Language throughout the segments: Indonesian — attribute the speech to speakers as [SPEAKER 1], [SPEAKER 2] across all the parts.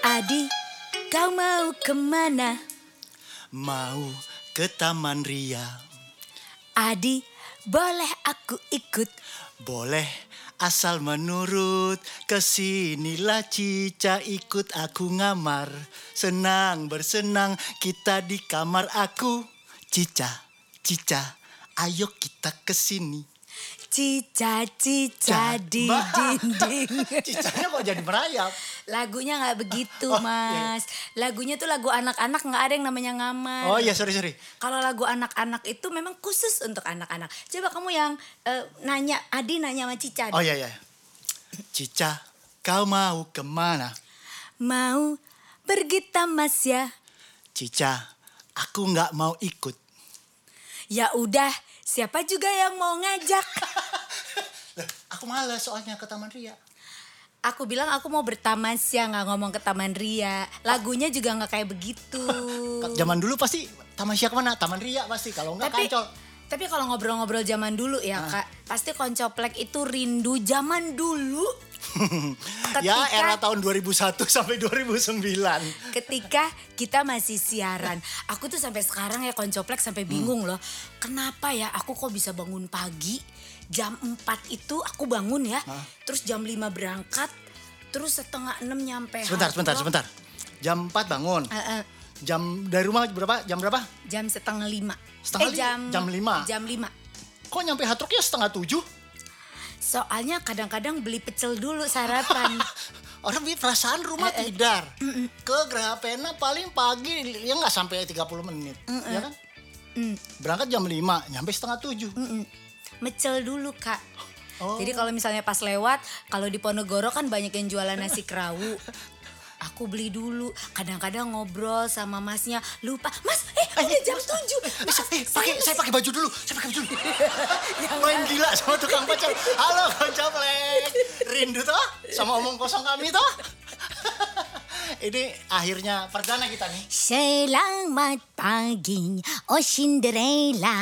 [SPEAKER 1] tadi, kau mau kemana?
[SPEAKER 2] Mau ke Taman Ria.
[SPEAKER 1] Adi, boleh aku ikut?
[SPEAKER 2] Boleh asal menurut kesinilah Cica ikut aku ngamar. Senang bersenang kita di kamar aku. Cica, Cica, ayo kita ke sini.
[SPEAKER 1] Cica, cica
[SPEAKER 2] Ca-
[SPEAKER 1] di
[SPEAKER 2] Ma.
[SPEAKER 1] dinding.
[SPEAKER 2] Cicanya kok jadi merayap?
[SPEAKER 1] Lagunya nggak begitu,
[SPEAKER 2] Oh, iya.
[SPEAKER 1] Mas. Lagunya tuh lagu anak-anak nggak ada yang namanya ngamar.
[SPEAKER 2] Oh iya, sorry, sorry.
[SPEAKER 1] Kalau lagu anak-anak itu memang khusus untuk anak-anak. Coba kamu yang eh, nanya, Adi nanya sama Cica.
[SPEAKER 2] Oh iya, iya. Cica, kau mau kemana?
[SPEAKER 1] Mau pergi tamas ya?
[SPEAKER 2] Cica, aku nggak mau ikut.
[SPEAKER 1] Ya udah, siapa juga yang mau ngajak?
[SPEAKER 2] Lah, aku malas soalnya ke Taman Ria.
[SPEAKER 1] Aku bilang aku mau bertamas ya, nggak ngomong ke Taman Ria. Lagunya juga nggak kayak begitu.
[SPEAKER 2] Zaman dulu pasti Taman Ria kemana? Taman Ria pasti. Kalau nggak
[SPEAKER 1] tapi
[SPEAKER 2] kancol. Ah.
[SPEAKER 1] tapi kalau ngobrol-ngobrol zaman dulu ya kak, pasti koncoplek itu rindu zaman dulu.
[SPEAKER 2] ya
[SPEAKER 1] Ketika-
[SPEAKER 2] era tahun 2001 sampai 2009.
[SPEAKER 1] ketika kita masih siaran. Aku tuh sampai sekarang ya koncoplek sampai bingung
[SPEAKER 2] Hmm.
[SPEAKER 1] loh. Kenapa ya aku kok bisa bangun pagi? Jam 4 itu aku bangun ya.
[SPEAKER 2] Ah.
[SPEAKER 1] Terus jam 5 berangkat. Terus setengah 6 nyampe.
[SPEAKER 2] Sebentar,
[SPEAKER 1] Hard
[SPEAKER 2] sebentar,
[SPEAKER 1] Rock.
[SPEAKER 2] sebentar. Jam 4 bangun.
[SPEAKER 1] Eh, eh,
[SPEAKER 2] Jam dari rumah berapa? Jam berapa?
[SPEAKER 1] jam setengah lima.
[SPEAKER 2] Setengah
[SPEAKER 1] eh,
[SPEAKER 2] li-
[SPEAKER 1] jam,
[SPEAKER 2] jam lima.
[SPEAKER 1] Jam lima.
[SPEAKER 2] Kok nyampe hatruknya setengah tujuh?
[SPEAKER 1] Soalnya kadang-kadang beli pecel dulu sarapan.
[SPEAKER 2] Orang punya perasaan rumah
[SPEAKER 1] Eh,
[SPEAKER 2] tidar.
[SPEAKER 1] Mm,
[SPEAKER 2] Ke Graha Pena paling pagi ya nggak sampai 30 menit. Ya kan?
[SPEAKER 1] Mm.
[SPEAKER 2] Berangkat jam 5, nyampe setengah tujuh.
[SPEAKER 1] Mm-mm. Mecel dulu kak.
[SPEAKER 2] Oh.
[SPEAKER 1] Jadi kalau misalnya pas lewat, kalau di Ponegoro kan banyak yang jualan nasi kerawu. Aku beli dulu. Kadang-kadang ngobrol sama masnya, lupa. Mas, eh udah jam 7. Mas,
[SPEAKER 2] Eh,
[SPEAKER 1] saya
[SPEAKER 2] pakai, saya pakai baju dulu, saya pakai baju dulu.
[SPEAKER 1] Ya
[SPEAKER 2] Main gila sama tukang pecel. Halo, koncoplek. Rindu toh sama omong kosong kami toh. Ini akhirnya perdana kita nih.
[SPEAKER 1] Selamat pagi, oh Cinderella.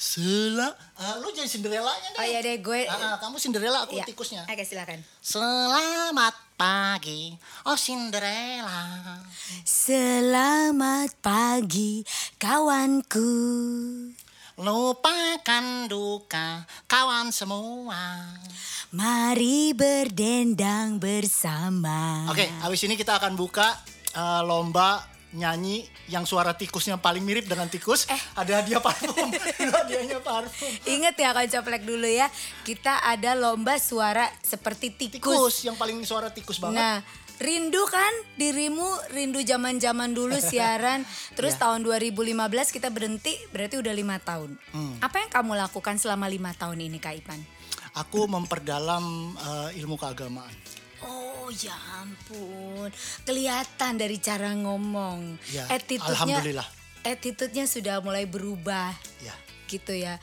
[SPEAKER 2] Sela, Ah, lu jadi Cinderella-nya deh.
[SPEAKER 1] Oh iya deh, gue-
[SPEAKER 2] Ah, ah, kamu Cinderella, aku
[SPEAKER 1] Iya.
[SPEAKER 2] tikusnya.
[SPEAKER 1] Oke, silakan.
[SPEAKER 2] Selamat pagi, oh Cinderella.
[SPEAKER 1] Selamat pagi, kawanku.
[SPEAKER 2] Lupakan duka, kawan semua.
[SPEAKER 1] Mari berdendang bersama.
[SPEAKER 2] Oke, habis ini kita akan buka eh, lomba nyanyi yang suara tikusnya paling mirip dengan tikus.
[SPEAKER 1] Eh.
[SPEAKER 2] Ada hadiah parfum, Ada hadiahnya parfum.
[SPEAKER 1] Ingat ya kalau coplek dulu ya, kita ada lomba suara seperti tikus.
[SPEAKER 2] Tikus yang paling suara tikus banget.
[SPEAKER 1] Nah, rindu kan dirimu rindu zaman-zaman dulu siaran. Terus tahun 2015 kita berhenti, berarti udah lima tahun. Apa yang kamu lakukan selama lima tahun ini Kak Ipan?
[SPEAKER 2] Aku memperdalam eh, ilmu keagamaan.
[SPEAKER 1] Oh ya ampun, kelihatan dari cara ngomong.
[SPEAKER 2] Ya,
[SPEAKER 1] Attitude-nya-
[SPEAKER 2] alhamdulillah.
[SPEAKER 1] attitude-nya sudah mulai berubah
[SPEAKER 2] Ya.
[SPEAKER 1] gitu ya.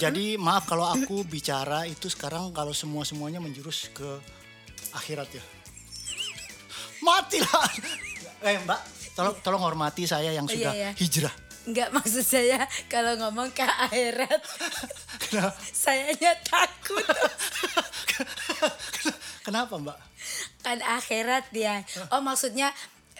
[SPEAKER 2] Jadi maaf kalau aku bicara itu sekarang kalau semua semuanya menjurus ke akhirat ya. Matilah. Eh Mbak, tolong tolong hormati saya yang
[SPEAKER 1] Oh,
[SPEAKER 2] sudah
[SPEAKER 1] iya, iya.
[SPEAKER 2] hijrah.
[SPEAKER 1] Enggak maksud saya kalau ngomong ke akhirat
[SPEAKER 2] Kenapa?
[SPEAKER 1] sayanya takut
[SPEAKER 2] Kenapa Mbak?
[SPEAKER 1] kan akhirat ya. Oh maksudnya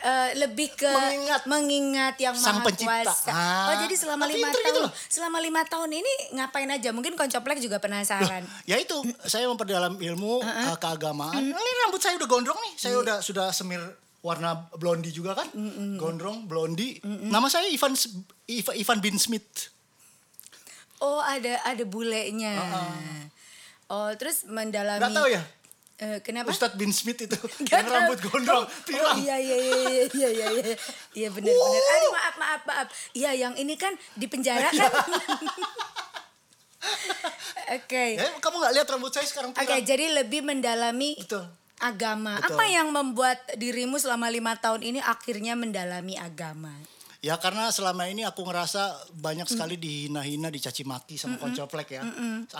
[SPEAKER 1] eh, lebih ke
[SPEAKER 2] Mengingat.
[SPEAKER 1] mengingat yang
[SPEAKER 2] Sang
[SPEAKER 1] maha
[SPEAKER 2] Pencipta.
[SPEAKER 1] kuasa.
[SPEAKER 2] Ah.
[SPEAKER 1] Oh jadi selama
[SPEAKER 2] Oh,
[SPEAKER 1] lima
[SPEAKER 2] pinter gitu
[SPEAKER 1] tahun,
[SPEAKER 2] loh.
[SPEAKER 1] selama lima tahun ini ngapain aja? Mungkin koncoplek juga penasaran.
[SPEAKER 2] Ya itu, saya memperdalam ilmu eh, keagamaan. Ini rambut saya udah gondrong nih.
[SPEAKER 1] Mm.
[SPEAKER 2] Saya udah sudah semir warna blondi juga kan? Gondrong, blondi. Nama saya Ivan S- Iva- Ivan bin Smith.
[SPEAKER 1] Oh ada ada bulenya. Oh terus mendalami.
[SPEAKER 2] Nggak tahu ya?
[SPEAKER 1] Eh, kenapa?
[SPEAKER 2] Ustadz bin Smith itu
[SPEAKER 1] Nggak
[SPEAKER 2] yang
[SPEAKER 1] tahu.
[SPEAKER 2] rambut gondrong,
[SPEAKER 1] Oh,
[SPEAKER 2] pirang.
[SPEAKER 1] iya iya iya iya iya iya. Iya benar benar. Aduh maaf maaf maaf. Iya yang ini kan di penjara
[SPEAKER 2] Iya.
[SPEAKER 1] kan. Oke. iya.
[SPEAKER 2] Ya, kamu nggak lihat rambut saya sekarang
[SPEAKER 1] Oke,
[SPEAKER 2] pirang.
[SPEAKER 1] jadi lebih mendalami
[SPEAKER 2] Betul.
[SPEAKER 1] agama.
[SPEAKER 2] Betul.
[SPEAKER 1] Apa yang membuat dirimu selama lima tahun ini akhirnya mendalami agama?
[SPEAKER 2] Ya karena selama ini aku ngerasa banyak sekali dihina-hina, dicaci maki sama koncoplek ya.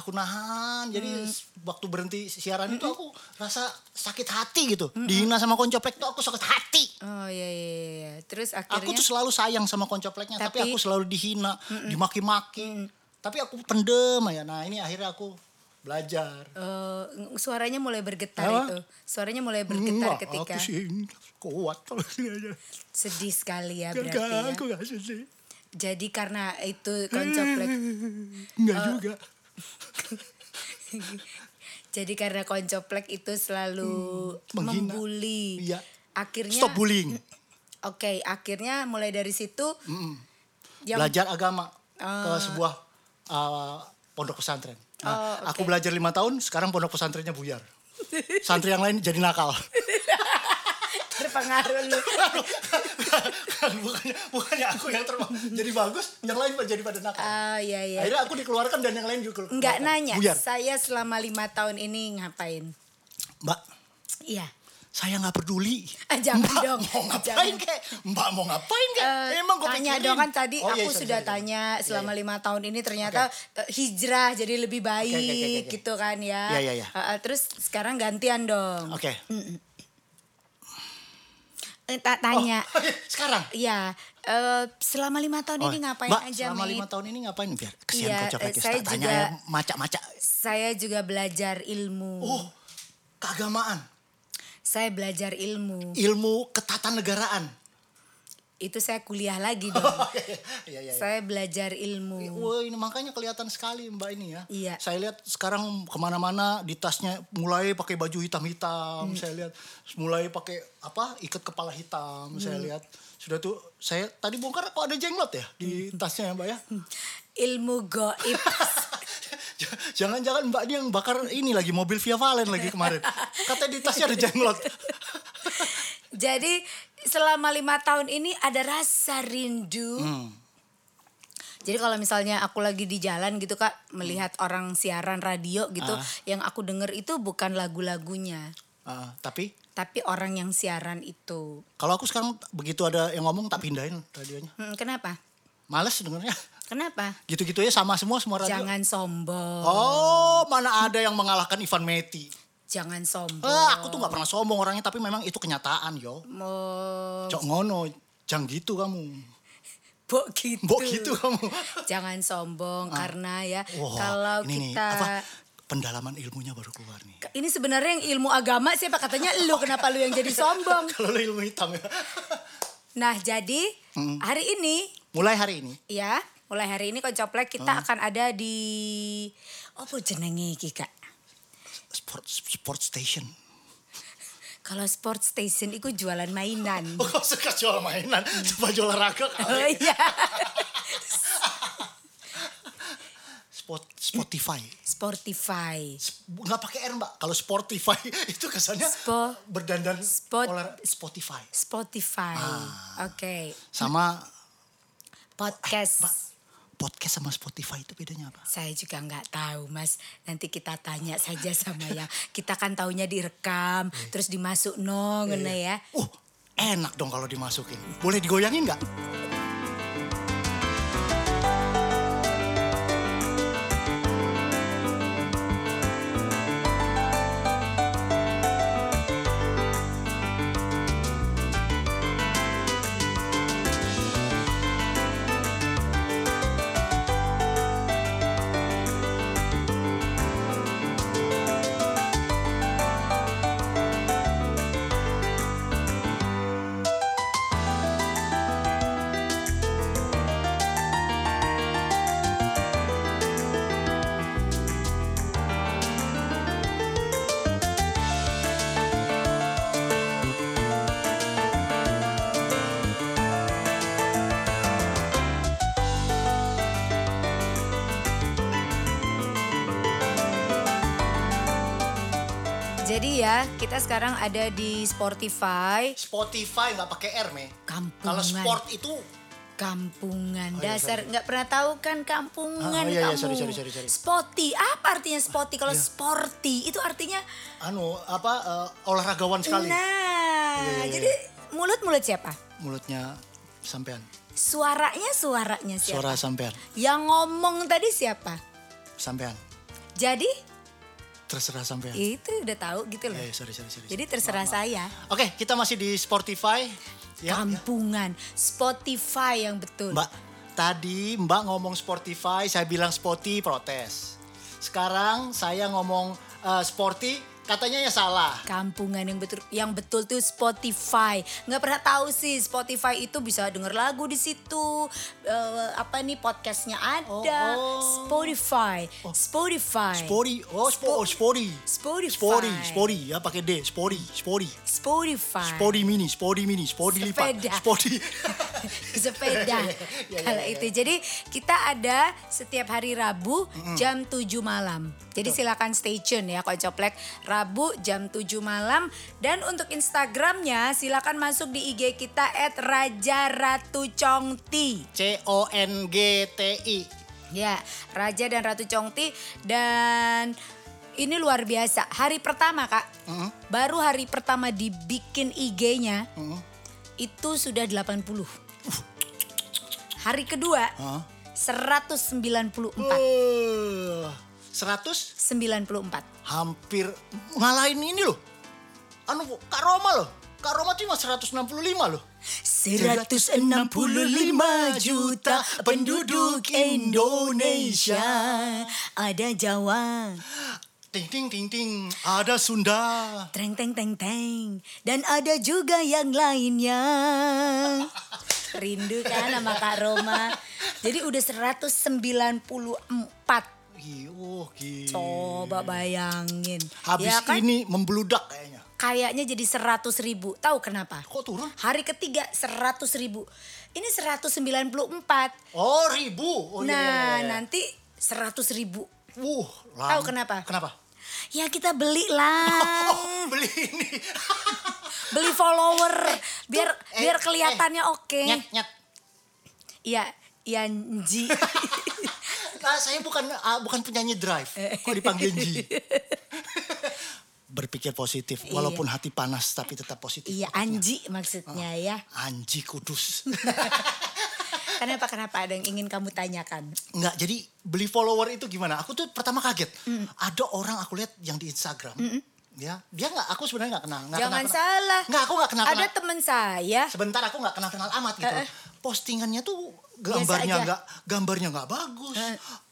[SPEAKER 2] Aku nahan. Jadi waktu berhenti siaran itu aku rasa sakit hati gitu. Dihina sama koncoplek tuh aku sakit hati.
[SPEAKER 1] Oh iya iya iya, iya. Terus
[SPEAKER 2] Aku
[SPEAKER 1] akhirnya
[SPEAKER 2] tuh selalu sayang sama koncopleknya, tapi,
[SPEAKER 1] Tapi-
[SPEAKER 2] aku selalu dihina, dimaki-maki. Tapi aku pendem ya. Nah, ini akhirnya aku belajar.
[SPEAKER 1] Eh, suaranya mulai bergetar
[SPEAKER 2] Apa?
[SPEAKER 1] itu. Suaranya mulai bergetar
[SPEAKER 2] Enggak,
[SPEAKER 1] ketika
[SPEAKER 2] Hmm, aku sih kuat kalau gini aja.
[SPEAKER 1] sedih sekali ya berarti
[SPEAKER 2] Enggak,
[SPEAKER 1] ya.
[SPEAKER 2] aku Hmm, gak sedih.
[SPEAKER 1] Jadi karena itu koncoplek Eh,
[SPEAKER 2] Enggak juga.
[SPEAKER 1] Jadi karena koncoplek itu selalu
[SPEAKER 2] Hmm, menghina.
[SPEAKER 1] membuli.
[SPEAKER 2] Iya.
[SPEAKER 1] Akhirnya
[SPEAKER 2] Stop bullying.
[SPEAKER 1] Oke, akhirnya mulai dari situ
[SPEAKER 2] Hmm.
[SPEAKER 1] ya yang Ah.
[SPEAKER 2] belajar agama ke sebuah uh, pondok pesantren. Nah,
[SPEAKER 1] Oh,
[SPEAKER 2] Aku
[SPEAKER 1] oke.
[SPEAKER 2] belajar lima tahun, sekarang pondok pesantrennya buyar. Santri yang lain jadi nakal.
[SPEAKER 1] terpengaruh lu.
[SPEAKER 2] bukannya, bukannya aku yang terma- jadi bagus, yang lain jadi pada nakal.
[SPEAKER 1] Oh iya iya.
[SPEAKER 2] Akhirnya aku dikeluarkan dan yang lain juga keluar.
[SPEAKER 1] Enggak nanya.
[SPEAKER 2] Buyar.
[SPEAKER 1] Saya selama lima tahun ini ngapain?
[SPEAKER 2] Mbak,
[SPEAKER 1] Iya.
[SPEAKER 2] saya nggak peduli.
[SPEAKER 1] Ah, jangan
[SPEAKER 2] Mbak
[SPEAKER 1] dong.
[SPEAKER 2] mau ngapain
[SPEAKER 1] Jangan.
[SPEAKER 2] kek? Mbak mau ngapain kek?
[SPEAKER 1] Eh,
[SPEAKER 2] Emang gua
[SPEAKER 1] tanya
[SPEAKER 2] pikirin.
[SPEAKER 1] dong kan tadi
[SPEAKER 2] Oh, iya,
[SPEAKER 1] aku
[SPEAKER 2] sorry,
[SPEAKER 1] sudah
[SPEAKER 2] sorry, sorry.
[SPEAKER 1] tanya
[SPEAKER 2] Iya,
[SPEAKER 1] selama
[SPEAKER 2] iya.
[SPEAKER 1] lima tahun ini ternyata eh, hijrah jadi lebih baik
[SPEAKER 2] oke, oke, oke.
[SPEAKER 1] gitu kan ya.
[SPEAKER 2] Iya, iya, Oh. iya.
[SPEAKER 1] Eh, eh, terus sekarang gantian dong.
[SPEAKER 2] Oke.
[SPEAKER 1] Eh, tak tanya.
[SPEAKER 2] Oh, sekarang.
[SPEAKER 1] Iya, eh, selama lima tahun
[SPEAKER 2] Oh,
[SPEAKER 1] ini ngapain
[SPEAKER 2] Mbak,
[SPEAKER 1] aja,
[SPEAKER 2] selama
[SPEAKER 1] Mit?
[SPEAKER 2] lima tahun ini ngapain? Biar kesian
[SPEAKER 1] Iya,
[SPEAKER 2] kocok
[SPEAKER 1] eh,
[SPEAKER 2] lagi.
[SPEAKER 1] saya
[SPEAKER 2] Saya tanya
[SPEAKER 1] juga-
[SPEAKER 2] ya, macak-macak.
[SPEAKER 1] Saya juga belajar ilmu.
[SPEAKER 2] Oh, keagamaan.
[SPEAKER 1] Saya belajar ilmu.
[SPEAKER 2] Ilmu ketatanegaraan.
[SPEAKER 1] Itu saya kuliah lagi dong.
[SPEAKER 2] Iya, iya, iya.
[SPEAKER 1] saya belajar ilmu.
[SPEAKER 2] Wah, ini makanya kelihatan sekali Mbak ini ya.
[SPEAKER 1] Iya.
[SPEAKER 2] Saya lihat sekarang kemana-mana di tasnya mulai pakai baju hitam-hitam.
[SPEAKER 1] Hmm.
[SPEAKER 2] Saya lihat mulai pakai apa ikat kepala hitam.
[SPEAKER 1] Hmm.
[SPEAKER 2] Saya lihat sudah tuh saya tadi bongkar kok ada jenglot ya di
[SPEAKER 1] Hmm.
[SPEAKER 2] tasnya ya Mbak ya.
[SPEAKER 1] Ilmu goib.
[SPEAKER 2] Jangan-jangan Mbak ini yang bakar ini lagi mobil Via Valen lagi kemarin. Katanya di tasnya ada jenglot.
[SPEAKER 1] Jadi selama lima tahun ini ada rasa rindu.
[SPEAKER 2] Hmm.
[SPEAKER 1] Jadi kalau misalnya aku lagi di jalan gitu kak melihat
[SPEAKER 2] Hmm.
[SPEAKER 1] orang siaran radio gitu, yang aku denger itu bukan lagu-lagunya,
[SPEAKER 2] Ah, tapi
[SPEAKER 1] tapi orang yang siaran itu.
[SPEAKER 2] kalau aku sekarang begitu ada yang ngomong tak pindahin radionya.
[SPEAKER 1] Hmm, kenapa?
[SPEAKER 2] Males dengernya.
[SPEAKER 1] Kenapa?
[SPEAKER 2] Gitu-gitu ya sama semua semua radio.
[SPEAKER 1] Jangan sombong.
[SPEAKER 2] Oh, mana ada yang mengalahkan Ivan Meti?
[SPEAKER 1] Jangan sombong.
[SPEAKER 2] Ah, aku tuh nggak pernah sombong orangnya, tapi memang itu kenyataan
[SPEAKER 1] Oh.
[SPEAKER 2] yo.
[SPEAKER 1] Mau
[SPEAKER 2] Cok ngono, jang gitu kamu.
[SPEAKER 1] Bo gitu.
[SPEAKER 2] Mbok gitu kamu.
[SPEAKER 1] Jangan sombong karena ya
[SPEAKER 2] Wah,
[SPEAKER 1] kalau
[SPEAKER 2] ini
[SPEAKER 1] kita
[SPEAKER 2] nih, apa, pendalaman ilmunya baru keluar nih.
[SPEAKER 1] ini sebenarnya yang ilmu agama siapa katanya lu kenapa lu yang jadi sombong.
[SPEAKER 2] Kalau lo ilmu hitam ya.
[SPEAKER 1] Nah, jadi hari ini
[SPEAKER 2] Mulai hari ini.
[SPEAKER 1] ya, mulai hari ini Koncoplek kita
[SPEAKER 2] Mm.
[SPEAKER 1] akan ada di opo jenenge iki, Kak?
[SPEAKER 2] Sport, sport station.
[SPEAKER 1] Kalau Sport Station itu jualan mainan.
[SPEAKER 2] Oh, kau suka jual mainan, coba jual olahraga
[SPEAKER 1] Oh
[SPEAKER 2] kali.
[SPEAKER 1] iya.
[SPEAKER 2] Spot, Spotify.
[SPEAKER 1] Sportify.
[SPEAKER 2] Sp- Nggak pakai R mbak. Kalau Spotify itu kesannya
[SPEAKER 1] Spo-
[SPEAKER 2] berdandan
[SPEAKER 1] Spot-
[SPEAKER 2] olah- Spotify.
[SPEAKER 1] Spotify.
[SPEAKER 2] Ah.
[SPEAKER 1] Oke.
[SPEAKER 2] Sama
[SPEAKER 1] Podcast.
[SPEAKER 2] Mbak, podcast sama Spotify itu bedanya apa?
[SPEAKER 1] Saya juga nggak tahu, Mas. Nanti kita tanya saja sama ya. Kita kan taunya direkam,
[SPEAKER 2] Iya.
[SPEAKER 1] terus dimasuk no, ngene ya.
[SPEAKER 2] Uh, enak dong kalau dimasukin. Boleh digoyangin nggak?
[SPEAKER 1] Jadi ya, kita sekarang ada di Spotify.
[SPEAKER 2] Spotify nggak pakai R, Me.
[SPEAKER 1] Kampungan.
[SPEAKER 2] Kalau sport itu
[SPEAKER 1] Kampungan
[SPEAKER 2] iya,
[SPEAKER 1] dasar nggak pernah tahu kan kampungan
[SPEAKER 2] Ah, iya, iya,
[SPEAKER 1] kamu.
[SPEAKER 2] sorry, sorry, sorry, Iya. sorry.
[SPEAKER 1] Sporty apa artinya sporty? Kalau sporty itu artinya
[SPEAKER 2] anu apa eh, olahragawan sekali.
[SPEAKER 1] nah.
[SPEAKER 2] Iya, iya, iya.
[SPEAKER 1] Jadi mulut mulut siapa?
[SPEAKER 2] Mulutnya sampean.
[SPEAKER 1] Suaranya suaranya siapa?
[SPEAKER 2] Suara sampean.
[SPEAKER 1] Yang ngomong tadi siapa?
[SPEAKER 2] Sampean.
[SPEAKER 1] Jadi
[SPEAKER 2] Terserah sampean.
[SPEAKER 1] itu udah tahu gitu loh.
[SPEAKER 2] Eh, Iya. sorry, sorry,
[SPEAKER 1] Iya.
[SPEAKER 2] sorry.
[SPEAKER 1] Jadi terserah saya.
[SPEAKER 2] Oke, kita masih di Spotify. Ya.
[SPEAKER 1] Kampungan, Spotify yang betul.
[SPEAKER 2] Mbak, tadi Mbak ngomong Spotify, saya bilang Spotify protes. Sekarang saya ngomong eh, sporty, katanya ya salah.
[SPEAKER 1] Kampungan yang betul yang betul tuh Spotify. Nggak pernah tahu sih Spotify itu bisa denger lagu di situ. Eh, apa nih podcastnya ada.
[SPEAKER 2] Oh, oh.
[SPEAKER 1] Spotify. Spotify.
[SPEAKER 2] Sporty, oh spo, oh, sporty.
[SPEAKER 1] Spotify.
[SPEAKER 2] Sporty, sporty ya pakai D, sporty, sporty.
[SPEAKER 1] Spotify.
[SPEAKER 2] Sporty mini, sporty mini, sporty lipat,
[SPEAKER 1] Sepeda.
[SPEAKER 2] sporty.
[SPEAKER 1] sepeda
[SPEAKER 2] ya,
[SPEAKER 1] kalau
[SPEAKER 2] ya,
[SPEAKER 1] itu. Jadi kita ada setiap hari Rabu jam 7 malam. Jadi silakan stay tune ya Kocoplek Rabu jam 7 malam dan untuk Instagramnya silakan masuk di IG kita @rajaratucongti.
[SPEAKER 2] C O N G T I.
[SPEAKER 1] Ya, Raja dan Ratu Congti dan ini luar biasa. Hari pertama, Kak. Baru hari pertama dibikin IG-nya. Itu sudah 80. Hari kedua
[SPEAKER 2] Hah?
[SPEAKER 1] 194. Oh.
[SPEAKER 2] Eh, 100
[SPEAKER 1] 94.
[SPEAKER 2] hampir ngalahin ini loh. Anu Kak Roma loh. Kak Roma tuh cuma 165 loh.
[SPEAKER 1] 165 juta penduduk Indonesia. Ada Jawa,
[SPEAKER 2] Ting ting ting ting. Ada Sunda.
[SPEAKER 1] Treng teng teng teng. Dan ada juga yang lainnya. Rindu kan sama Kak Roma. Jadi udah 194.
[SPEAKER 2] Ih, Oh, gila.
[SPEAKER 1] Coba bayangin.
[SPEAKER 2] Iya. Habis
[SPEAKER 1] ya kan?
[SPEAKER 2] ini membludak kayaknya.
[SPEAKER 1] Kayaknya jadi 100 ribu. Tahu kenapa?
[SPEAKER 2] Kok turun?
[SPEAKER 1] Hari ketiga 100 ribu. Ini 194.
[SPEAKER 2] Oh, ribu. Oh, iya, iya,
[SPEAKER 1] Nah
[SPEAKER 2] iya.
[SPEAKER 1] nanti 100 ribu.
[SPEAKER 2] Wuh, lam-
[SPEAKER 1] Tahu kenapa? Hmm.
[SPEAKER 2] Kenapa?
[SPEAKER 1] Ya kita beli lah.
[SPEAKER 2] Oh, beli ini.
[SPEAKER 1] Beli follower. Biar
[SPEAKER 2] eh,
[SPEAKER 1] biar kelihatannya oke.
[SPEAKER 2] nyet, nyet.
[SPEAKER 1] Iya, iya Nji.
[SPEAKER 2] Nah, saya bukan ah, bukan penyanyi drive. Kok dipanggil Ji? Berpikir positif, walaupun hati panas tapi tetap positif.
[SPEAKER 1] iya Anji maksudnya ya.
[SPEAKER 2] Anji kudus.
[SPEAKER 1] Kenapa kenapa ada yang ingin kamu tanyakan?
[SPEAKER 2] Enggak, jadi beli follower itu gimana? Aku tuh pertama kaget.
[SPEAKER 1] Mm.
[SPEAKER 2] Ada orang aku lihat yang di Instagram. Ya, dia nggak aku sebenarnya nggak kenal. nggak
[SPEAKER 1] Jangan
[SPEAKER 2] kenal-
[SPEAKER 1] salah.
[SPEAKER 2] Nggak, aku nggak kenal.
[SPEAKER 1] Ada teman saya.
[SPEAKER 2] Sebentar aku nggak kenal-kenal amat gitu. Postingannya tuh gambarnya
[SPEAKER 1] aja.
[SPEAKER 2] nggak gambarnya nggak bagus.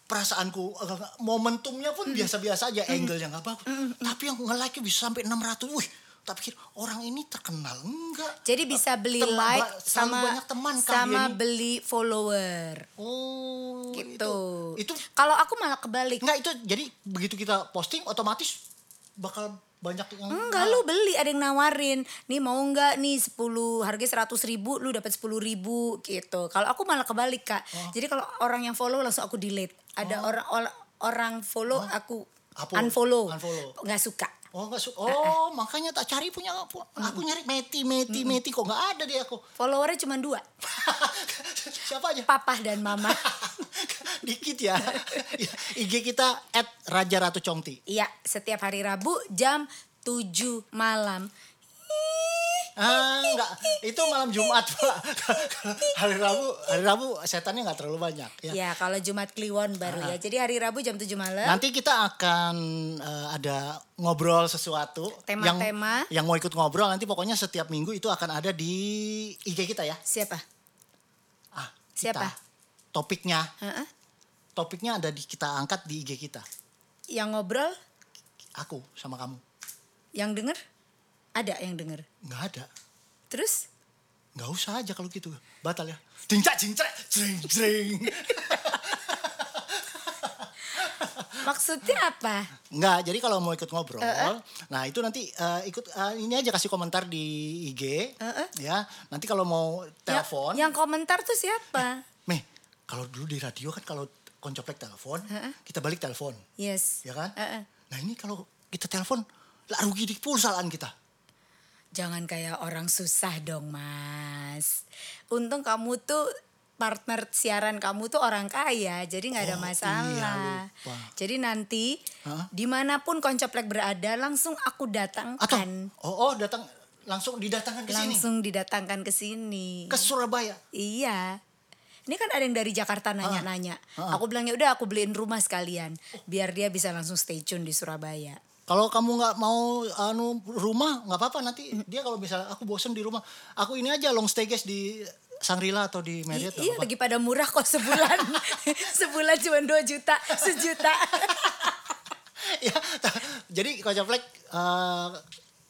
[SPEAKER 2] Perasaanku eh, momentumnya pun
[SPEAKER 1] Mm.
[SPEAKER 2] biasa-biasa aja, angle-nya nggak bagus. Tapi yang nge-like bisa sampai 600. Wih, tak pikir orang ini terkenal enggak?
[SPEAKER 1] Jadi bisa beli
[SPEAKER 2] Teman-
[SPEAKER 1] like
[SPEAKER 2] ba- selalu
[SPEAKER 1] sama
[SPEAKER 2] banyak teman kan
[SPEAKER 1] sama
[SPEAKER 2] dia ini.
[SPEAKER 1] beli follower.
[SPEAKER 2] Oh,
[SPEAKER 1] Gitu.
[SPEAKER 2] Itu, itu
[SPEAKER 1] Kalau aku malah kebalik.
[SPEAKER 2] Enggak itu jadi begitu kita posting otomatis bakal banyak yang
[SPEAKER 1] Enggak lu beli ada yang nawarin Nih mau enggak nih 10 harga 100 ribu lu dapat 10 ribu gitu Kalau aku malah kebalik kak
[SPEAKER 2] Oh.
[SPEAKER 1] Jadi kalau orang yang follow langsung aku delete Ada orang or- orang follow aku
[SPEAKER 2] Apa?
[SPEAKER 1] unfollow
[SPEAKER 2] Oh. Unfollow.
[SPEAKER 1] Nggak suka
[SPEAKER 2] Oh enggak
[SPEAKER 1] Eh,
[SPEAKER 2] su- Oh, makanya tak cari punya aku aku nyari Meti Meti Meti kok enggak ada dia aku.
[SPEAKER 1] Followernya cuma dua
[SPEAKER 2] Siapa aja?
[SPEAKER 1] Papa dan mama
[SPEAKER 2] Dikit ya. Ya, IG kita @rajaratucongti.
[SPEAKER 1] Iya setiap hari Rabu jam 7 malam
[SPEAKER 2] Ah, enggak. Itu malam Jumat, Pak. hari Rabu, hari Rabu setannya enggak terlalu banyak ya.
[SPEAKER 1] Ya kalau Jumat Kliwon baru ya Jadi hari Rabu jam 7 malam
[SPEAKER 2] Nanti kita akan eh, ada ngobrol sesuatu
[SPEAKER 1] Tema-tema.
[SPEAKER 2] yang yang mau ikut ngobrol nanti pokoknya setiap minggu itu akan ada di IG kita ya.
[SPEAKER 1] Siapa?
[SPEAKER 2] Ah,
[SPEAKER 1] Siapa?
[SPEAKER 2] Topiknya,
[SPEAKER 1] Heeh.
[SPEAKER 2] topiknya ada di kita angkat di IG kita.
[SPEAKER 1] Yang ngobrol?
[SPEAKER 2] Aku sama kamu.
[SPEAKER 1] Yang denger? Ada yang denger
[SPEAKER 2] Nggak ada.
[SPEAKER 1] Terus?
[SPEAKER 2] Nggak usah aja kalau gitu. Batal ya. Cincak, cincak, jreng, jreng.
[SPEAKER 1] Maksudnya apa?
[SPEAKER 2] Nggak, jadi kalau mau ikut ngobrol, nah itu nanti eh, ikut eh, ini aja kasih komentar di IG, ya. Nanti kalau mau
[SPEAKER 1] Ya-
[SPEAKER 2] telepon,
[SPEAKER 1] Yang komentar tuh siapa?
[SPEAKER 2] Meh, kalau dulu di radio kan kalau koncoplek telepon, kita balik telepon,
[SPEAKER 1] Yes.
[SPEAKER 2] ya kan?
[SPEAKER 1] Heeh.
[SPEAKER 2] Nah ini kalau kita telepon, lah rugi di pulsaan kita.
[SPEAKER 1] Jangan kayak orang susah dong, Mas. Untung kamu tuh partner siaran kamu tuh orang kaya, jadi nggak ada
[SPEAKER 2] Oh, iya,
[SPEAKER 1] masalah.
[SPEAKER 2] lupa.
[SPEAKER 1] Jadi nanti
[SPEAKER 2] Hah?
[SPEAKER 1] dimanapun koncoplek berada, langsung aku datangkan,
[SPEAKER 2] Atau, oh, oh datang langsung didatangkan ke sini,
[SPEAKER 1] langsung didatangkan ke sini.
[SPEAKER 2] ke Surabaya.
[SPEAKER 1] Iya. Ini kan ada yang dari Jakarta nanya-nanya. Aku bilang ya udah aku beliin rumah sekalian, biar dia bisa langsung stay tune di Surabaya.
[SPEAKER 2] Kalau kamu nggak mau anu rumah, nggak apa-apa nanti
[SPEAKER 1] Mm.
[SPEAKER 2] dia kalau misalnya aku bosen di rumah, aku ini aja long stay guys di Sangrila atau
[SPEAKER 1] I-
[SPEAKER 2] di Marriott. nggak
[SPEAKER 1] iya
[SPEAKER 2] apa-apa.
[SPEAKER 1] lagi pada murah kok sebulan. sebulan cuma 2 juta, sejuta.
[SPEAKER 2] ya, ta- jadi Coach Plek eh,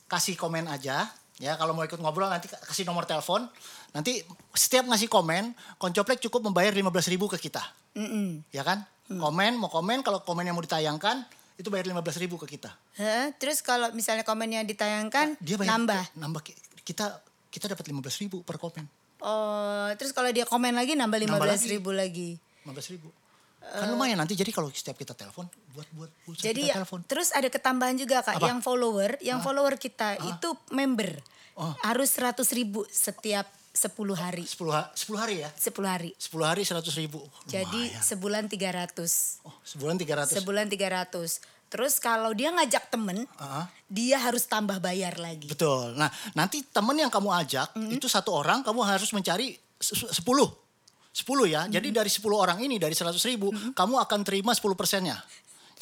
[SPEAKER 2] kasih komen aja ya kalau mau ikut ngobrol nanti ka- kasih nomor telepon nanti setiap ngasih komen Koncoplek cukup membayar 15.000 ribu ke kita
[SPEAKER 3] Mm-mm.
[SPEAKER 2] ya kan
[SPEAKER 1] Mm.
[SPEAKER 2] komen mau komen kalau komen yang mau ditayangkan itu bayar 15.000 ribu ke kita
[SPEAKER 1] Hah? Terus kalau misalnya komennya ditayangkan
[SPEAKER 2] dia bayar
[SPEAKER 1] nambah.
[SPEAKER 2] nambah ki- kita kita dapat 15.000 ribu per komen
[SPEAKER 1] Oh, terus kalau dia komen lagi nambah lima
[SPEAKER 2] Nambah
[SPEAKER 1] belas
[SPEAKER 2] lagi.
[SPEAKER 1] ribu lagi.
[SPEAKER 2] 15.000 ribu kan lumayan nanti jadi kalau setiap kita telepon buat buat pulsa
[SPEAKER 1] Eh. Jadi
[SPEAKER 2] kita
[SPEAKER 1] ya,
[SPEAKER 2] telepon
[SPEAKER 1] terus ada ketambahan juga kak,
[SPEAKER 2] Apa? Ah.
[SPEAKER 1] yang follower, yang follower kita itu member
[SPEAKER 2] Oh.
[SPEAKER 1] harus seratus ribu setiap 10 hari,
[SPEAKER 2] 10 ha- 10 hari ya
[SPEAKER 1] 10 hari.
[SPEAKER 2] 10 hari 100.000 ribu
[SPEAKER 1] Jadi
[SPEAKER 2] Lumayan.
[SPEAKER 1] sebulan 300
[SPEAKER 2] Oh, sebulan 300.
[SPEAKER 1] sebulan 300 Terus kalau dia ngajak temen,
[SPEAKER 2] Ah.
[SPEAKER 1] dia harus tambah bayar lagi.
[SPEAKER 2] Betul. Nah, nanti temen yang kamu ajak itu satu orang kamu harus mencari se- se- 10. 10 ya. Jadi dari 10 orang ini dari 100 ribu kamu akan terima 10 persennya.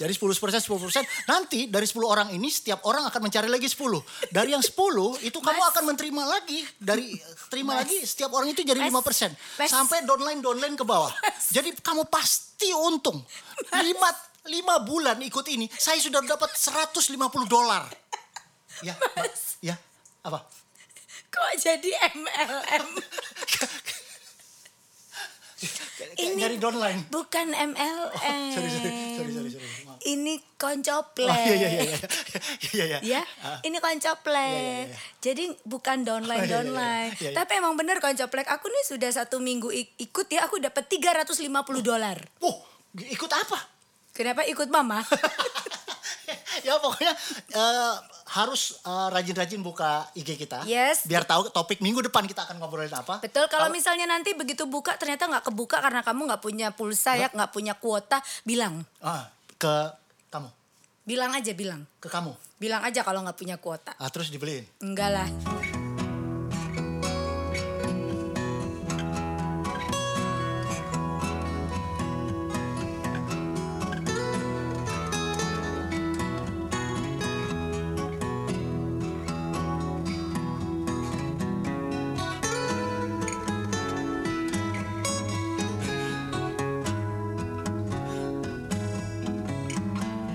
[SPEAKER 2] Jadi 10 persen, 10 persen. Nanti dari 10 orang ini setiap orang akan mencari lagi 10. Dari yang 10 itu kamu akan menerima lagi. Dari terima lagi setiap orang itu jadi
[SPEAKER 3] Mas.
[SPEAKER 2] 5 persen.
[SPEAKER 3] Mas.
[SPEAKER 2] Sampai downline-downline ke bawah. Jadi kamu pasti untung. 5, 5 bulan ikut ini saya sudah dapat 150 dolar. Ya, Mbak. ya, apa?
[SPEAKER 3] Kok jadi MLM?
[SPEAKER 2] Ini dari downline.
[SPEAKER 3] Bukan MLM.
[SPEAKER 2] Oh, sorry, sorry, sorry, sorry, sorry. Maaf.
[SPEAKER 3] Ini koncoplek.
[SPEAKER 2] Oh, iya, iya, iya, iya, iya, iya.
[SPEAKER 3] Ya, ini koncoplek. Jadi bukan downline
[SPEAKER 2] iya, iya,
[SPEAKER 3] downline.
[SPEAKER 2] iya, iya.
[SPEAKER 3] Tapi emang bener koncoplek. Aku nih sudah satu minggu ik- ikut ya, aku dapat 350 dolar.
[SPEAKER 2] Wah, ikut apa?
[SPEAKER 3] Kenapa ikut mama?
[SPEAKER 2] ya pokoknya eh, harus eh, rajin-rajin buka IG kita.
[SPEAKER 3] Yes.
[SPEAKER 2] Biar tahu topik minggu depan kita akan ngobrolin apa.
[SPEAKER 3] Betul. Kalau misalnya nanti begitu buka ternyata nggak kebuka karena kamu nggak punya pulsa ya, nggak punya kuota, bilang,
[SPEAKER 2] Ah, ke kamu,
[SPEAKER 3] bilang aja bilang,
[SPEAKER 2] ke kamu.
[SPEAKER 3] bilang aja kalau nggak punya kuota.
[SPEAKER 2] Ah, terus dibeliin.
[SPEAKER 3] Enggak lah.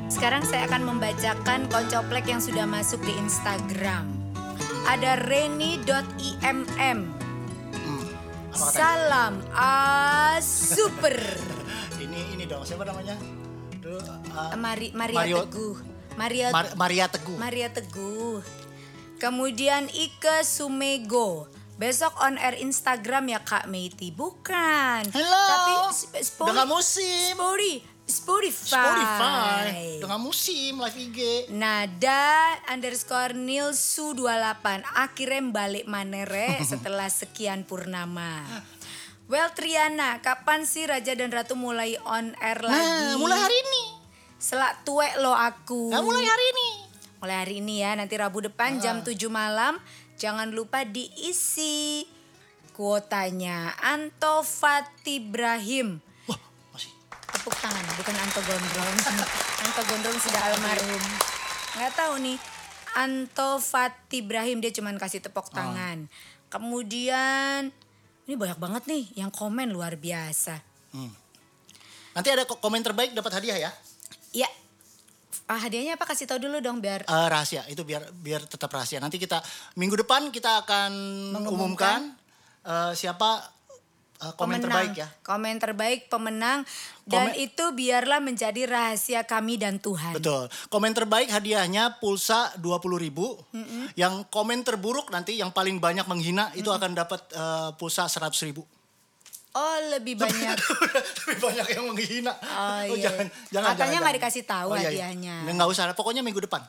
[SPEAKER 1] Sekarang saya akan membacakan koncoplek yang sudah masuk di Instagram. Ada reni.imm.
[SPEAKER 2] Hmm. Apa katanya?
[SPEAKER 1] Salam a super.
[SPEAKER 2] Ini ini dong siapa namanya? Dulu, eh,
[SPEAKER 1] Mari, Maria
[SPEAKER 2] Mario-
[SPEAKER 1] Teguh. Maria
[SPEAKER 2] Mar- Maria Teguh.
[SPEAKER 1] Maria Teguh. Kemudian Ike Sumego. Besok on air Instagram ya Kak Meiti. Bukan.
[SPEAKER 2] Hello.
[SPEAKER 1] Tapi sp- Spotify.
[SPEAKER 2] Dengan musim.
[SPEAKER 1] Spotify.
[SPEAKER 2] Spotify. Dengan musim live IG.
[SPEAKER 1] Nada underscore Nilsu 28 Akhirnya balik manere setelah sekian purnama Well Triana, kapan sih Raja dan Ratu mulai on air lagi?
[SPEAKER 2] Nah, mulai hari ini.
[SPEAKER 1] Selak tuwek lo aku
[SPEAKER 2] Nah, mulai Ah. hari ini.
[SPEAKER 1] Mulai hari ini ya, nanti Rabu depan jam 7 malam Jangan lupa diisi kuotanya Anto Fatih Ibrahim
[SPEAKER 2] Wah, masih.
[SPEAKER 1] tepuk tangan bukan Anto Gondrong Anto Gondrong sudah almarhum nggak tahu nih Anto Fatih Ibrahim dia cuman kasih
[SPEAKER 2] Oh.
[SPEAKER 1] tepuk tangan kemudian ini banyak banget nih yang komen luar biasa
[SPEAKER 2] Nanti ada ko- komen terbaik dapat hadiah ya.
[SPEAKER 1] ya ah, hadiahnya apa kasih tahu dulu dong biar
[SPEAKER 2] Eh, rahasia itu biar biar tetap rahasia. Nanti kita minggu depan kita akan mengumumkan eh, siapa eh, komen
[SPEAKER 1] pemenang
[SPEAKER 2] terbaik ya.
[SPEAKER 1] komen terbaik pemenang dan
[SPEAKER 2] Komen-
[SPEAKER 1] itu biarlah menjadi rahasia kami dan Tuhan
[SPEAKER 2] Betul. Komen terbaik hadiahnya pulsa 20.000 ribu. Yang komen terburuk nanti yang paling banyak menghina itu akan dapat eh, pulsa 100.000 ribu.
[SPEAKER 1] oh lebih banyak
[SPEAKER 2] Tapi banyak yang menghina.
[SPEAKER 1] Oh, iya.
[SPEAKER 2] jangan, jangan,
[SPEAKER 1] Katanya
[SPEAKER 2] jangan,
[SPEAKER 1] nggak
[SPEAKER 2] jangan.
[SPEAKER 1] dikasih tahu
[SPEAKER 2] iya, iya.
[SPEAKER 1] hadiahnya.
[SPEAKER 2] Nggak- Nggak usah, pokoknya minggu depan.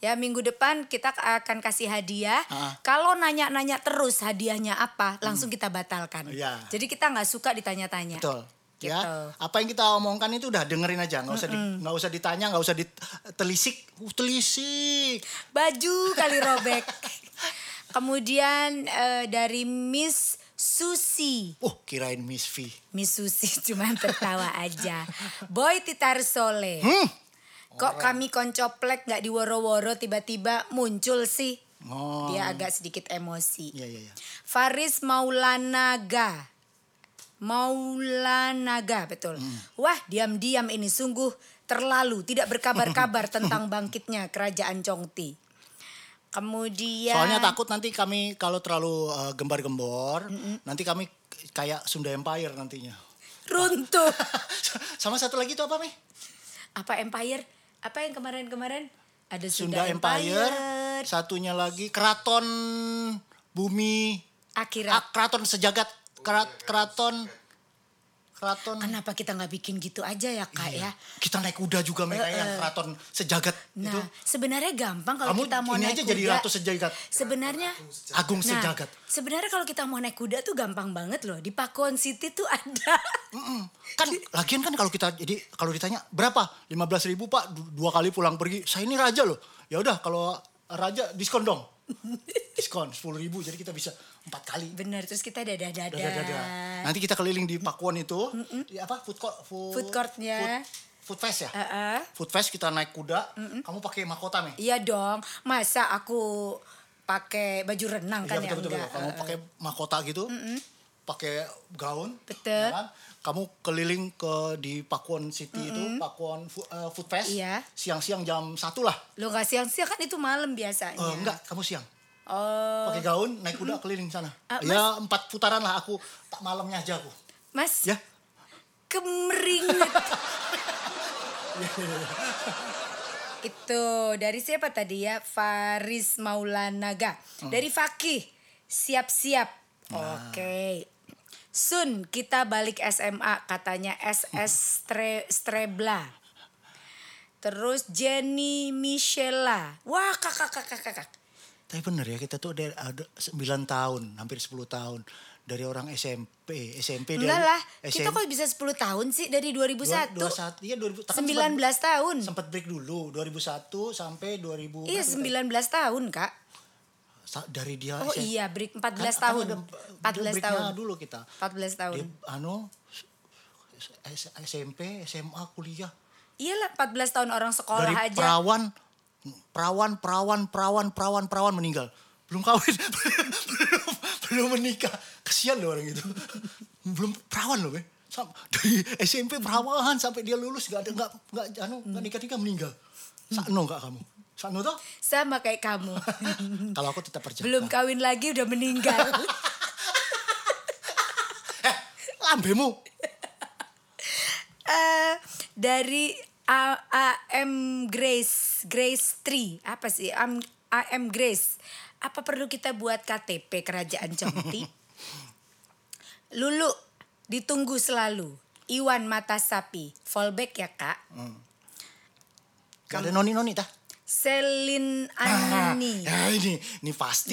[SPEAKER 1] Ya minggu depan kita akan kasih hadiah.
[SPEAKER 2] Ah.
[SPEAKER 1] Kalau nanya-nanya terus hadiahnya apa, langsung kita batalkan.
[SPEAKER 2] Hmm. Iya.
[SPEAKER 1] Jadi kita nggak suka ditanya-tanya.
[SPEAKER 2] Betul.
[SPEAKER 1] Gitu.
[SPEAKER 2] Ya, apa yang kita omongkan itu udah dengerin aja, nggak usah di- nggak usah ditanya, nggak usah ditelisik, uh, telisik.
[SPEAKER 1] Baju kali robek. Kemudian eh, dari Miss Susi.
[SPEAKER 2] Uh, kirain Miss V.
[SPEAKER 1] Miss Susi cuma tertawa aja. Boy Titar Soleh.
[SPEAKER 2] Hmm.
[SPEAKER 1] Kok kami koncoplek nggak diworo-woro tiba-tiba muncul sih?
[SPEAKER 2] Oh.
[SPEAKER 1] Dia agak sedikit emosi.
[SPEAKER 2] Iya, iya, iya.
[SPEAKER 1] Faris Maulana Ga. Maulanaga betul.
[SPEAKER 2] Hmm.
[SPEAKER 1] Wah, diam-diam ini sungguh terlalu tidak berkabar-kabar tentang bangkitnya kerajaan Chongti. Kemudian
[SPEAKER 2] Soalnya takut nanti kami kalau terlalu eh, gembar-gembor, nanti kami kayak Sunda Empire nantinya.
[SPEAKER 1] runtuh.
[SPEAKER 2] Sama satu lagi itu apa, Mi?
[SPEAKER 1] Apa empire? Apa yang kemarin-kemarin? Ada
[SPEAKER 2] Sunda Empire, satunya lagi Keraton Bumi,
[SPEAKER 1] Akhirat.
[SPEAKER 2] ah, Keraton Sejagat, Kera- Keraton Keraton
[SPEAKER 1] Kenapa kita nggak bikin gitu aja ya kak ya?
[SPEAKER 2] Iya. Kita naik kuda juga Mi, kayak yang Keraton Sejagat
[SPEAKER 1] Nah
[SPEAKER 2] itu.
[SPEAKER 1] sebenarnya gampang kalau
[SPEAKER 2] Kamu
[SPEAKER 1] kita mau
[SPEAKER 2] ini
[SPEAKER 1] naik
[SPEAKER 2] aja
[SPEAKER 1] kuda.
[SPEAKER 2] jadi Ratu Sejagat.
[SPEAKER 1] Sebenarnya
[SPEAKER 2] Agung
[SPEAKER 1] Nah,
[SPEAKER 2] Sejagat.
[SPEAKER 1] sebenarnya kalau kita mau naik kuda tuh gampang banget loh. Di Pakuan City tuh ada.
[SPEAKER 2] Mm-mm. Kan lagian kan kalau kita jadi kalau ditanya berapa? 15 ribu Pak du- dua kali pulang pergi. Saya ini raja loh. Ya udah kalau raja diskon dong. Diskon 10 ribu jadi kita bisa empat kali.
[SPEAKER 1] Bener terus kita dadah-dadah.
[SPEAKER 2] Dadah, dadah. Nanti kita keliling di Pakuan itu, di apa food court, food,
[SPEAKER 1] Food courtnya.
[SPEAKER 2] food, food fest ya.
[SPEAKER 1] Heeh.
[SPEAKER 2] Food fest kita naik kuda, kamu pakai mahkota nih.
[SPEAKER 1] Iya dong. Masa aku pakai baju renang kan ya
[SPEAKER 2] Iya, betul, betul, betul.
[SPEAKER 1] enggak.
[SPEAKER 2] Kamu pakai mahkota gitu, pakai gaun,
[SPEAKER 1] Betul.
[SPEAKER 2] ya kan? Kamu keliling ke di Pakuan City itu, Pakuan fu- eh, Food Fest,
[SPEAKER 1] Iya.
[SPEAKER 2] siang-siang jam satu lah.
[SPEAKER 1] Lo nggak siang-siang kan itu malam biasanya.
[SPEAKER 2] Eh, enggak, kamu siang.
[SPEAKER 1] Iya. Oh,
[SPEAKER 2] Pakai gaun, naik kuda keliling sana.
[SPEAKER 1] Ah,
[SPEAKER 2] ya empat putaran lah aku, tak malamnya aja aku.
[SPEAKER 1] Mas
[SPEAKER 2] Ya,
[SPEAKER 1] kemeringet. itu dari siapa tadi ya? Faris Maulanaga. Dari Fakih. Siap-siap. Oke. Sun kita balik SMA katanya SS Stre- Strebla. Terus Jenny Michela. Wah, kakak kakak kakak.
[SPEAKER 2] Tapi bener ya kita tuh ada, ada 9 tahun, hampir 10 tahun dari orang SMP, SMP dari
[SPEAKER 1] Enggak lah,
[SPEAKER 2] SMP,
[SPEAKER 1] kita kok bisa 10 tahun sih dari 2001?
[SPEAKER 2] 21, iya 2000, tak kan
[SPEAKER 1] 19
[SPEAKER 2] sempat-
[SPEAKER 1] tahun.
[SPEAKER 2] Sempat break dulu 2001 sampai 2000.
[SPEAKER 1] Iya, 19 tahun, Kak.
[SPEAKER 2] Sa- dari dia
[SPEAKER 1] Oh
[SPEAKER 2] SMP.
[SPEAKER 1] iya, break 14
[SPEAKER 2] Kan- kan
[SPEAKER 1] tahun.
[SPEAKER 2] ada- dia
[SPEAKER 1] 14
[SPEAKER 2] breaknya
[SPEAKER 1] tahun.
[SPEAKER 2] dulu kita.
[SPEAKER 1] 14 tahun.
[SPEAKER 2] Dia, anu S- S- SMP, SMA, kuliah.
[SPEAKER 1] Iyalah 14 tahun orang sekolah
[SPEAKER 2] dari
[SPEAKER 1] aja.
[SPEAKER 2] perawan perawan perawan perawan perawan perawan meninggal. Belum kawin. belum, belum menikah. Kasihan loh orang itu. belum perawan loh, Be. Sam- dari SMP perawan sampai dia lulus nggak ada nggak nggak anu
[SPEAKER 1] Hmm.
[SPEAKER 2] nggak nikah-nikah meninggal. Sakno nggak kamu? Sakno toh?
[SPEAKER 1] Sama kayak kamu.
[SPEAKER 2] Kalau aku tetap percaya.
[SPEAKER 1] Belum kawin lagi udah meninggal.
[SPEAKER 2] Lambemu.
[SPEAKER 1] Eh, dari A- AM Grace, Grace 3. Apa sih? AM, AM Grace. Apa perlu kita buat KTP Kerajaan Comti? Lulu, ditunggu selalu. Iwan mata sapi. Fallback ya, Kak.
[SPEAKER 2] Hmm. Nggak ada noni-noni tah.
[SPEAKER 1] Selin Anani.
[SPEAKER 2] Ya ini, ini pasti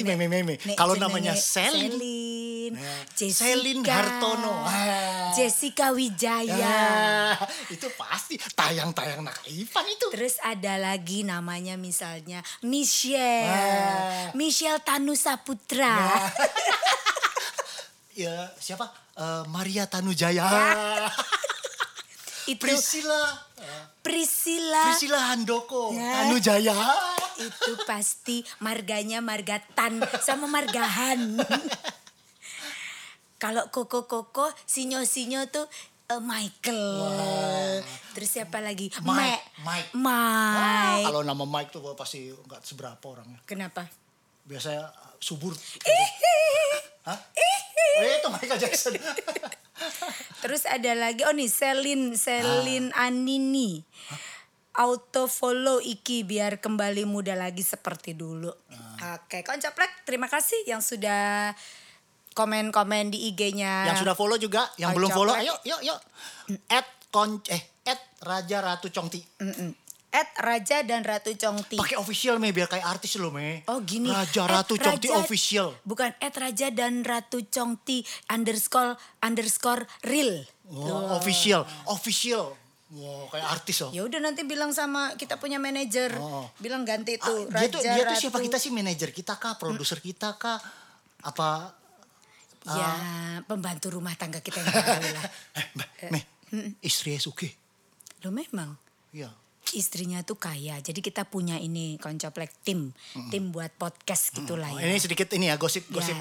[SPEAKER 1] Ah,
[SPEAKER 2] meme-meme.
[SPEAKER 1] Nek
[SPEAKER 2] Kalau
[SPEAKER 1] jenenge
[SPEAKER 2] namanya Selin,
[SPEAKER 1] Selin,
[SPEAKER 2] Nah,
[SPEAKER 1] Jessica,
[SPEAKER 2] Selin Hartono. Ah.
[SPEAKER 1] Jessica Wijaya.
[SPEAKER 2] Ya, itu pasti tayang-tayang nak Ivan itu.
[SPEAKER 1] Terus ada lagi namanya misalnya Michelle.
[SPEAKER 2] Wah.
[SPEAKER 1] Michelle Tanusaputra.
[SPEAKER 2] Ya, siapa? Eh, Maria Tanujaya.
[SPEAKER 1] Ya. Itu
[SPEAKER 2] Priscilla,
[SPEAKER 1] Priscilla.
[SPEAKER 2] Priscilla Handoko,
[SPEAKER 1] Ya.
[SPEAKER 2] Tanujaya.
[SPEAKER 1] Itu pasti marganya marga Tan sama margahan. Kalau koko-koko, sinyo-sinyo tuh eh, Michael. Terus siapa lagi?
[SPEAKER 2] Mike,
[SPEAKER 1] Me-
[SPEAKER 2] Mike. Ah,
[SPEAKER 1] Mike.
[SPEAKER 2] Kalau nama Mike tuh pasti nggak seberapa orangnya.
[SPEAKER 1] Kenapa?
[SPEAKER 2] Biasanya uh, subur.
[SPEAKER 1] Ih.
[SPEAKER 2] Hah? Oh, itu Michael Jackson.
[SPEAKER 1] Terus ada lagi oh nih Selin Selin
[SPEAKER 2] Ah.
[SPEAKER 1] Anini. Auto follow Iki biar kembali muda lagi seperti dulu.
[SPEAKER 2] Ah.
[SPEAKER 1] Oke, koncaplek terima kasih yang sudah komen-komen di IG-nya.
[SPEAKER 2] yang sudah follow juga, yang
[SPEAKER 1] Oh,
[SPEAKER 2] belum follow,
[SPEAKER 1] coklat.
[SPEAKER 2] ayo, yuk, yuk. At kon, eh, at Raja Ratu Congti.
[SPEAKER 1] Mm-mm. At Raja dan Ratu Congti.
[SPEAKER 2] Pakai official me biar kayak artis lo me.
[SPEAKER 1] Oh gini.
[SPEAKER 2] Raja
[SPEAKER 1] at
[SPEAKER 2] Ratu Congti
[SPEAKER 1] Raja-
[SPEAKER 2] official.
[SPEAKER 1] Bukan at Raja dan Ratu Congti underscore underscore real.
[SPEAKER 2] Wah, Oh, official, official. Wah, kayak artis loh.
[SPEAKER 1] Ya udah nanti bilang sama kita punya manajer,
[SPEAKER 2] Oh.
[SPEAKER 1] bilang ganti
[SPEAKER 2] Ah,
[SPEAKER 1] itu
[SPEAKER 2] dia tuh, dia tuh
[SPEAKER 1] Ratu.
[SPEAKER 2] siapa kita sih? Manajer kita kah? Produser kita kah? Apa?
[SPEAKER 1] Ya, pembantu rumah tangga kita yang tahu lah.
[SPEAKER 2] Eh, Mbak, meh, istri Suki.
[SPEAKER 1] Lo memang.
[SPEAKER 2] Iya.
[SPEAKER 4] istrinya tuh kaya. Jadi kita punya ini koncoplek tim, tim buat podcast gitulah ya.
[SPEAKER 2] Oh,
[SPEAKER 1] Iya.
[SPEAKER 2] ini sedikit ini ya gosip gosip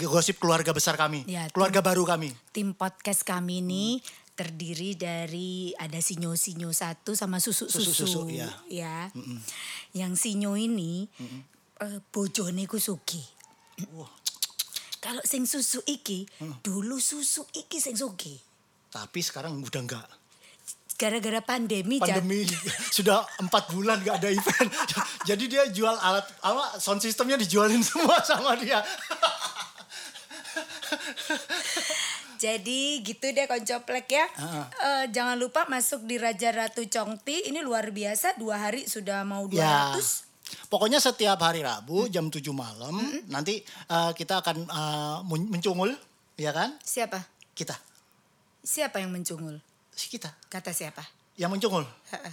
[SPEAKER 2] gosip keluarga besar kami,
[SPEAKER 1] Iya,
[SPEAKER 4] Ya, tim-
[SPEAKER 2] keluarga baru kami.
[SPEAKER 4] Tim podcast kami ini terdiri dari ada sinyo-sinyo satu sama susu-susu.
[SPEAKER 2] Susu-susu, ya.
[SPEAKER 4] ya. Yang sinyo ini eh, bojone ku sugih. Kalau sing susu iki, dulu susu iki sing sugih.
[SPEAKER 2] Tapi sekarang udah enggak.
[SPEAKER 4] Gara-gara pandemi, Jan.
[SPEAKER 2] Pandemi sudah empat bulan nggak ada event. Jadi dia jual alat apa sound systemnya dijualin semua sama dia.
[SPEAKER 1] Jadi gitu deh koncoplek ya.
[SPEAKER 2] Heeh.
[SPEAKER 1] Eh, jangan lupa masuk di Raja Ratu Congti. Ini luar biasa dua hari sudah mau 200.
[SPEAKER 2] Ya. Pokoknya setiap hari Rabu jam 7 malam nanti eh, kita akan eh, mun- mencungul, ya kan?
[SPEAKER 1] Siapa?
[SPEAKER 2] Kita,
[SPEAKER 1] Siapa yang mencungul?
[SPEAKER 2] si kita
[SPEAKER 1] Kata siapa?
[SPEAKER 2] yang mencungul.
[SPEAKER 1] Heeh.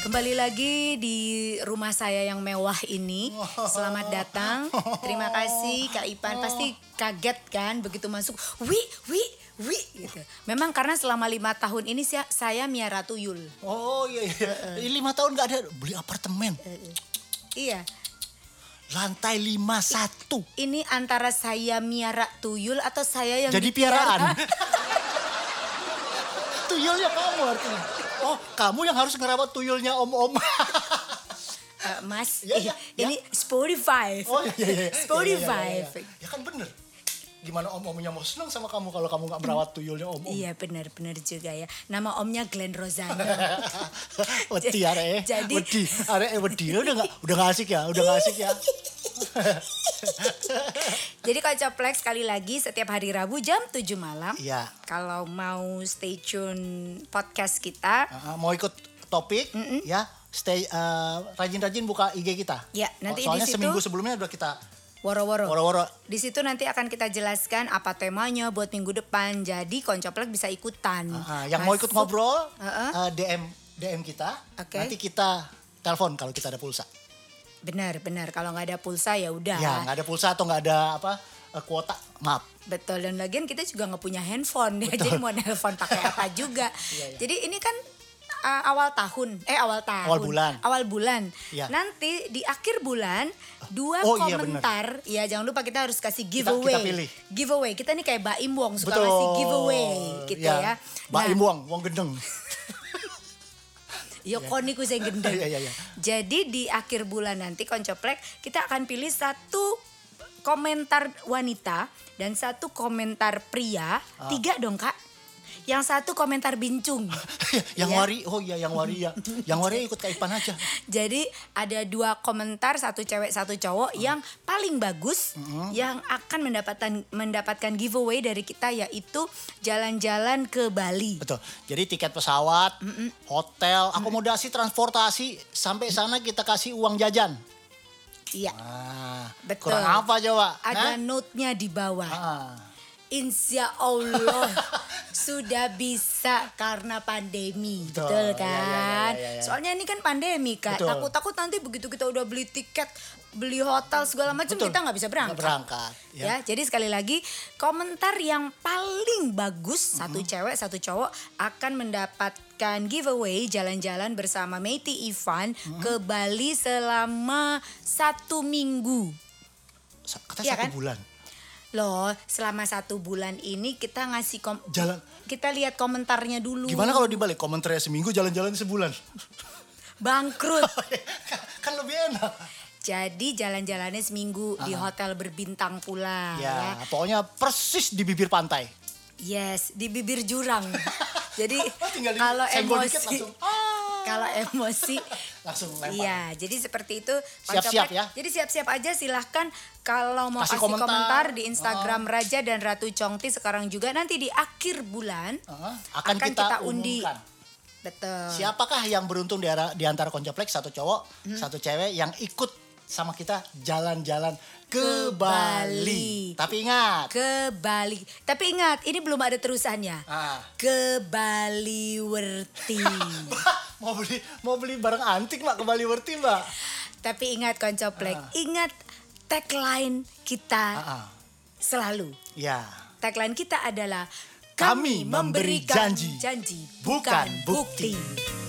[SPEAKER 4] Kembali lagi di rumah saya yang mewah ini. Selamat datang. Terima kasih Kak Ipan. Pasti kaget kan begitu masuk. Wi, wi, wi gitu. Memang karena selama lima tahun ini saya, saya Mia Ratu Yul.
[SPEAKER 2] Oh iya, Eh. iya. Ini lima tahun nggak ada beli apartemen,
[SPEAKER 4] Iya.
[SPEAKER 2] lantai lima satu.
[SPEAKER 4] Ini antara saya Mia Ratu Yul atau saya yang
[SPEAKER 2] Jadi piaraan.
[SPEAKER 1] Eh,
[SPEAKER 2] tuyulnya kamu artinya. Oh, kamu yang harus ngerawat tuyulnya om-om.
[SPEAKER 4] Eh, Mas,
[SPEAKER 2] Ya,
[SPEAKER 1] iya,
[SPEAKER 4] eh,
[SPEAKER 2] ya, ya.
[SPEAKER 4] ini Spotify.
[SPEAKER 2] Oh iya iya. iya.
[SPEAKER 4] Spotify.
[SPEAKER 2] Iya, iya, iya, iya. Ya kan bener. Gimana om-omnya mau senang sama kamu kalau kamu nggak merawat tuyulnya om-om?
[SPEAKER 4] Iya benar-benar juga ya. Nama omnya Glenn Rosano.
[SPEAKER 2] wedi arek e.
[SPEAKER 4] Jadi-
[SPEAKER 2] wedi arek e wedi udah nggak udah nggak asik ya udah nggak asik ya
[SPEAKER 1] Jadi koncoplek sekali lagi setiap hari Rabu jam 7 malam.
[SPEAKER 2] Iya.
[SPEAKER 1] Kalau mau stay tune podcast kita,
[SPEAKER 2] Ah, mau ikut topik ya stay eh, rajin-rajin buka IG kita
[SPEAKER 1] Ya, nanti di
[SPEAKER 2] soalnya
[SPEAKER 1] situ-
[SPEAKER 2] seminggu sebelumnya udah kita
[SPEAKER 1] woro-woro.
[SPEAKER 2] woro-woro
[SPEAKER 1] Di situ nanti akan kita jelaskan apa temanya buat minggu depan. Jadi koncoplek bisa ikutan.
[SPEAKER 2] Ah, yang mau ikut
[SPEAKER 1] Masuk-
[SPEAKER 2] ngobrol
[SPEAKER 1] Heeh.
[SPEAKER 2] eh, DM DM kita
[SPEAKER 1] Oke.
[SPEAKER 2] nanti kita telepon kalau kita ada pulsa
[SPEAKER 1] Benar, benar. Kalau nggak ada pulsa ya udah.
[SPEAKER 2] ya nggak ada pulsa atau nggak ada apa eh, kuota maaf
[SPEAKER 1] Betul dan lagian kita juga nggak punya handphone ya, jadi mau nelpon pakai apa juga.
[SPEAKER 2] Iya,
[SPEAKER 1] Jadi ini kan uh, awal tahun, eh awal tahun,
[SPEAKER 2] Awal bulan.
[SPEAKER 1] awal bulan.
[SPEAKER 2] Iya.
[SPEAKER 1] Nanti di akhir bulan dua
[SPEAKER 2] Oh, iya,
[SPEAKER 1] komentar, ya jangan lupa kita harus kasih
[SPEAKER 2] Kita-
[SPEAKER 1] giveaway,
[SPEAKER 2] kita pilih.
[SPEAKER 1] giveaway. Kita nih kayak Baim Wong suka ngasih giveaway gitu ya.
[SPEAKER 2] Iya. Mbak
[SPEAKER 1] Nah,
[SPEAKER 2] Im Wong Wong Gendeng
[SPEAKER 1] Yo koniku sing gendeng.
[SPEAKER 2] Iya, iya, iya.
[SPEAKER 1] Jadi di akhir bulan nanti koncoplek kita akan pilih satu komentar wanita dan satu komentar pria. Tiga dong kak. Yang satu komentar bincung.
[SPEAKER 2] yang
[SPEAKER 1] Iya.
[SPEAKER 2] wari oh iya yang wari ya yang wari ikut Kak Ipan aja
[SPEAKER 1] Jadi ada dua komentar satu cewek satu cowok yang paling bagus yang akan mendapatkan mendapatkan giveaway dari kita yaitu jalan-jalan ke Bali.
[SPEAKER 2] Betul. Jadi tiket pesawat, hotel, akomodasi, transportasi sampai sana kita kasih uang jajan.
[SPEAKER 1] Iya.
[SPEAKER 2] Ah,
[SPEAKER 1] Betul.
[SPEAKER 2] Kurang apa coba?
[SPEAKER 1] Ada
[SPEAKER 2] Hah?
[SPEAKER 1] note-nya di bawah.
[SPEAKER 2] Ah.
[SPEAKER 1] Insya Allah sudah bisa karena pandemi, betul,
[SPEAKER 2] Betul, ya, ya, ya,
[SPEAKER 1] kan?
[SPEAKER 2] ya, ya.
[SPEAKER 1] Soalnya ini kan pandemi kak,
[SPEAKER 2] Betul.
[SPEAKER 1] takut-takut nanti begitu kita udah beli tiket, beli hotel segala macam
[SPEAKER 2] Betul.
[SPEAKER 1] kita nggak bisa berangkat.
[SPEAKER 2] Nggak berangkat,
[SPEAKER 1] Ya.
[SPEAKER 2] ya.
[SPEAKER 1] jadi sekali lagi komentar yang paling bagus satu cewek satu cowok akan mendapatkan giveaway jalan-jalan bersama Meiti Ivan ke Bali selama satu minggu.
[SPEAKER 2] Sa- Kata
[SPEAKER 1] Iya
[SPEAKER 2] satu
[SPEAKER 1] kan?
[SPEAKER 2] bulan.
[SPEAKER 1] Loh, selama satu bulan ini kita ngasih kom
[SPEAKER 2] Jalan.
[SPEAKER 1] kita lihat komentarnya dulu.
[SPEAKER 2] Gimana kalau dibalik komentarnya seminggu jalan-jalan sebulan?
[SPEAKER 1] bangkrut.
[SPEAKER 2] kan lebih enak.
[SPEAKER 1] Jadi jalan-jalannya seminggu di hotel berbintang pula ya.
[SPEAKER 2] Ah. Ya, pokoknya persis di bibir pantai.
[SPEAKER 1] Yes, di bibir jurang. Jadi
[SPEAKER 2] Oh, tinggal di-
[SPEAKER 1] kalau
[SPEAKER 2] senggol dikit
[SPEAKER 1] emosi
[SPEAKER 2] langsung, ah.
[SPEAKER 1] kalau emosi
[SPEAKER 2] Langsung lempar.
[SPEAKER 1] Iya, jadi seperti itu Pak
[SPEAKER 2] Siap-siap
[SPEAKER 1] Coplek.
[SPEAKER 2] ya.
[SPEAKER 1] Jadi siap-siap aja silahkan kalau mau
[SPEAKER 2] Kasih
[SPEAKER 1] kasih,
[SPEAKER 2] komentar. Oh.
[SPEAKER 1] komentar. di Instagram Raja dan Ratu Congti sekarang juga nanti di akhir bulan kan
[SPEAKER 2] Ah, akan, kita,
[SPEAKER 1] undi.
[SPEAKER 2] umumkan.
[SPEAKER 1] Betul.
[SPEAKER 2] Siapakah yang beruntung di, ara- di antara koncoplek satu cowok, satu cewek yang ikut sama kita jalan-jalan ke,
[SPEAKER 1] Ke
[SPEAKER 2] Bali.
[SPEAKER 1] Bali.
[SPEAKER 2] Tapi ingat,
[SPEAKER 1] Ke Bali. Tapi ingat, ini belum ada terusannya.
[SPEAKER 2] Ah.
[SPEAKER 1] Ke Baliwerti.
[SPEAKER 2] mau beli mau beli barang antik mbak ke Bali Werti mbak.
[SPEAKER 1] Tapi ingat koncoplek, ingat tagline kita
[SPEAKER 2] Ah, ah.
[SPEAKER 1] selalu.
[SPEAKER 2] Ya,
[SPEAKER 1] Tagline kita adalah
[SPEAKER 2] Kami memberi
[SPEAKER 1] memberikan
[SPEAKER 2] janji,
[SPEAKER 1] janji
[SPEAKER 2] bukan bukti.
[SPEAKER 1] bukti.